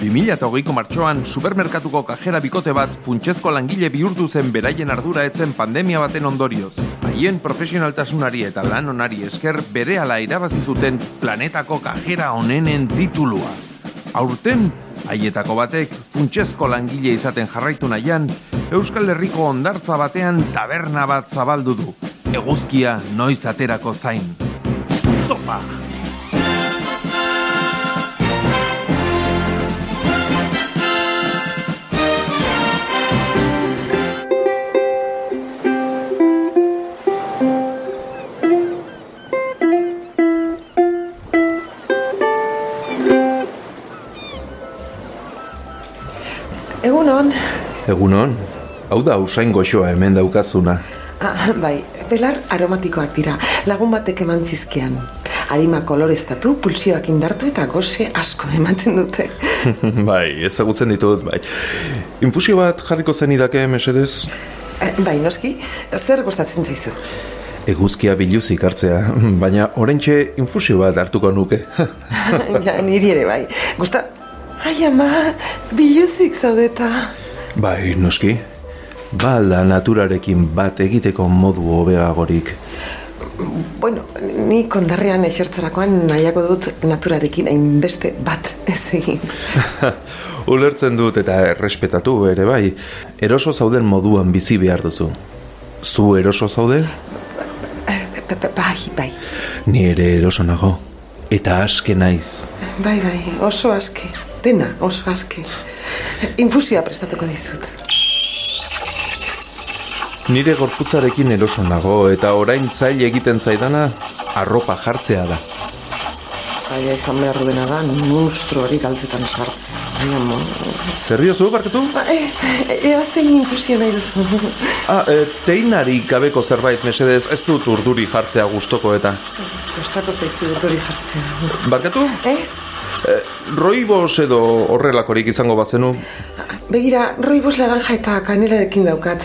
2008ko martxoan supermerkatuko kajera bikote bat funtsezko langile bihurtu zen beraien ardura etzen pandemia baten ondorioz. Haien profesionaltasunari eta lan onari esker berehala irabazi zuten planetako kajera onenen titulua. Aurten, haietako batek funtsezko langile izaten jarraitu nahian, Euskal Herriko ondartza batean taberna bat zabaldu du. Eguzkia noiz aterako zain. Topa! Egunon. Egunon, hau da usain goxoa hemen daukazuna. Ah, bai, belar aromatikoak dira, lagun batek eman zizkian. Arima koloreztatu, pulsioak indartu eta goze asko ematen dute. bai, ezagutzen ditut, bai. Infusio bat jarriko zen idake, mesedez? Eh, bai, noski, zer gustatzen zaizu? Eguzkia biluzik hartzea, baina orentxe infusio bat hartuko nuke. ja, niri ere bai. Gusta, ai ama, biluzik zaudeta. bai, noski. Bala naturarekin bat egiteko modu hobeagorik. Bueno, ni kondarrean esertzerakoan nahiago dut naturarekin hainbeste bat ez egin. Ulertzen dut eta errespetatu ere bai, eroso zauden moduan bizi behar duzu. Zu eroso zaude? Eh, ba- ba- Bai, bai, Ni ere eroso nago. Eta aske naiz. bai, bai, oso aske, dena oso aske. Infusioa prestatuko dizut. Nire gorputzarekin eroso nago eta orain zail egiten zaidana arropa jartzea da. Zaila izan behar duena da, monstru hori galtzetan sartzen. Ai, ama. Zerriozu, barkatu? Ba, e, e, ea zein infusio nahi duzu. Ah, e, teinari gabeko zerbait mesedez ez dut urduri jartzea gustoko eta. Kostako zaizu urduri jartzea. Barkatu? Eh? E, roibos edo horrelakorik izango bazenu? Begira, roibos laranja eta kanelarekin daukat.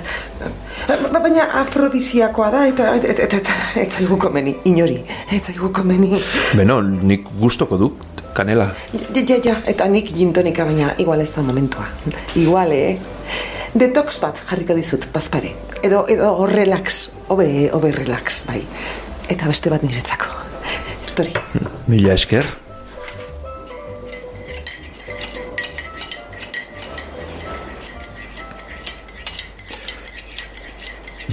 Ba- Baina afrodisiakoa da eta eta eta eta eta- ez zaigu komeni, inori, ez zaigu komeni. Beno, nik gustoko dut kanela. Ja, ja, ja, eta nik jintonika baina igual ez da momentua. Igual, eh? Detox bat jarriko dizut, bazpare. Edo, edo relax, hobe, hobe relax, bai. Eta beste bat niretzako. Tori, Mila esker.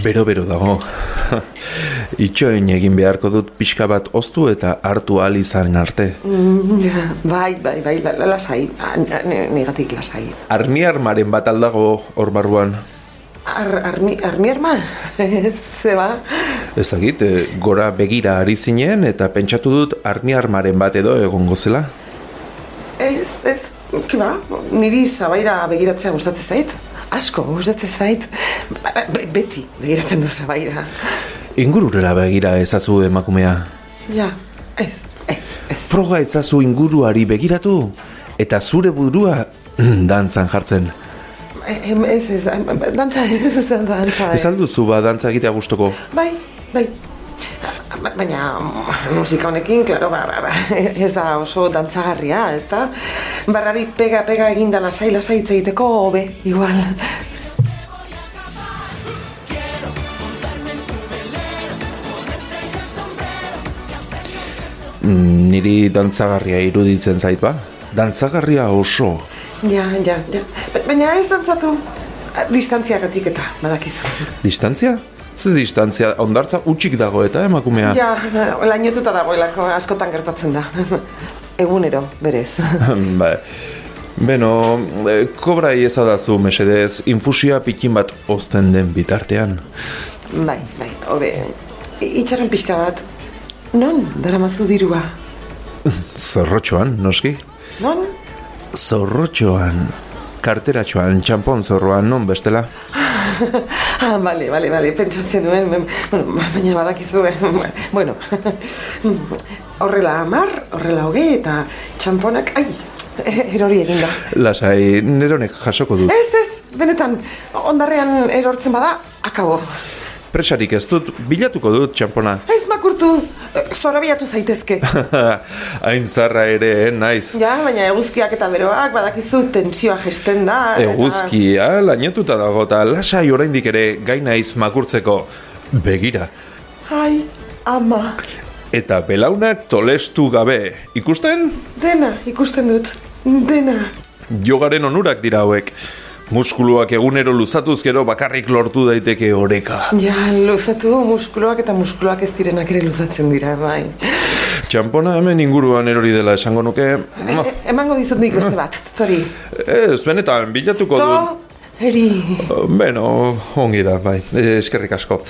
Bero-bero dago. Itxoin egin beharko dut pixka bat oztu eta hartu ahal izan arte. Mm, ja, bai, bai, bai, la- la- lasai, Ah, ne- ne- negatik lasai. Armiarmaren bat aldago hor barruan. Ar, armi, armierma, zeba, Ez dakit, e, gora begira ari zinen eta pentsatu dut armiarmaren bat edo egongo zela. ez, ez, kiba, niri zabaira begiratzea gustatzen zait, asko gustatzen zait, Ba- be- beti begiratzen du zabaira. Ingururera begira ezazu emakumea. Ja, ez, ez, ez. Froga ezazu inguruari begiratu eta zure burua mm, dantzan jartzen. Em, ez, ez, em, dantza, ez, ez, dantza. Ez alduzu ba dantza egitea gustoko. Bai, bai. Ba- Baina mm, musika honekin, klaro, ba, ba, ba, ez da oso dantzagarria, ez da? Barrari pega-pega eginda lasai lasai hitz egiteko hobe, igual. Mm, Niri dantzagarria iruditzen zait ba. Dantzagarria oso. Ja, ja, ja. Ba- Baina ez dantzatu distantziagatik eta, badakizu. Distantzia? Ze distantzia, ondartza utxik dago eta emakumea. Ja, lainotuta dagoelako askotan gertatzen da. Egunero, berez. bai. Beno, e, kobra iezadazu mesedez, infusia pikin bat osten den bitartean. Bai, bai, hobe. Itxaron pixka bat. Non daramazu dirua? Zorrotxoan, noski? Non? Zorrotxoan. Karteratxoan, txampon zorroan, non bestela? Ah, bale, bale, bale, pentsatzen duen, em, bueno, ba- baina badakizu, em, bueno, horrela amar, horrela hogei eta txamponak, ai, e- erori egin da. Lasai, neronek jasoko dut. Ez, ez, benetan, ondarrean erortzen bada, akabo. Presarik ez dut, bilatuko dut txampona. Ez makurtu, Zora bilatu zaitezke. Hain zarra ere, eh, naiz. ja, baina eguzkiak eta beroak badakizu tensioa jesten da. eta- Eguzkia, lainatuta ah, dago eta lasai oraindik ere gai naiz makurtzeko. Begira, Ai, ama, eta belaunak tolestu gabe. Ikusten? dena ikusten dut, dena. Jogaren onurak dira hauek. Muskuluak egunero luzatuz gero bakarrik lortu daiteke oreka. Ja, luzatu muskuloak eta muskuloak ez direnak ere luzatzen dira, bai. Txampona hemen inguruan erori dela esango nuke. E, Ma, emango dizut nik beste bat, tori. Ez, benetan, bilatuko dut. Tori. Beno, ongi da, bai, e, eskerrik asko.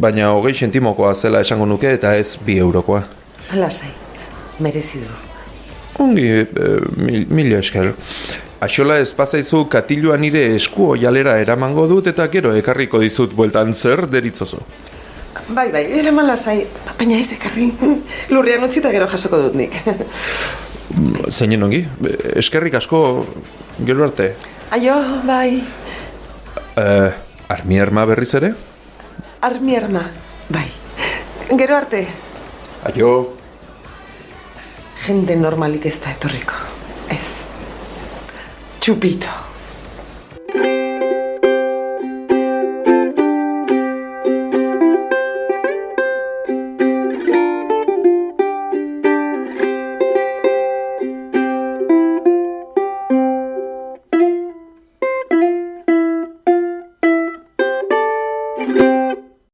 Baina hogei sentimokoa zela esango nuke eta ez bi eurokoa. Lasai, merezi du. Ongi, e, mil, mila esker. Axola ez bazaizu katilua nire esku oialera eramango dut eta gero ekarriko dizut bueltan zer deritzozu. Bai, bai, eraman lasai, baina ez ekarri. Lurrean utzi eta gero jasoko dut nik. Zeinen ongi, E, eskerrik asko gero arte. Aio, bai, E, armierma berriz ere? armi arma, bai. Gero arte, Aio. jende normalik ez da etorriko. Ez. Txupito.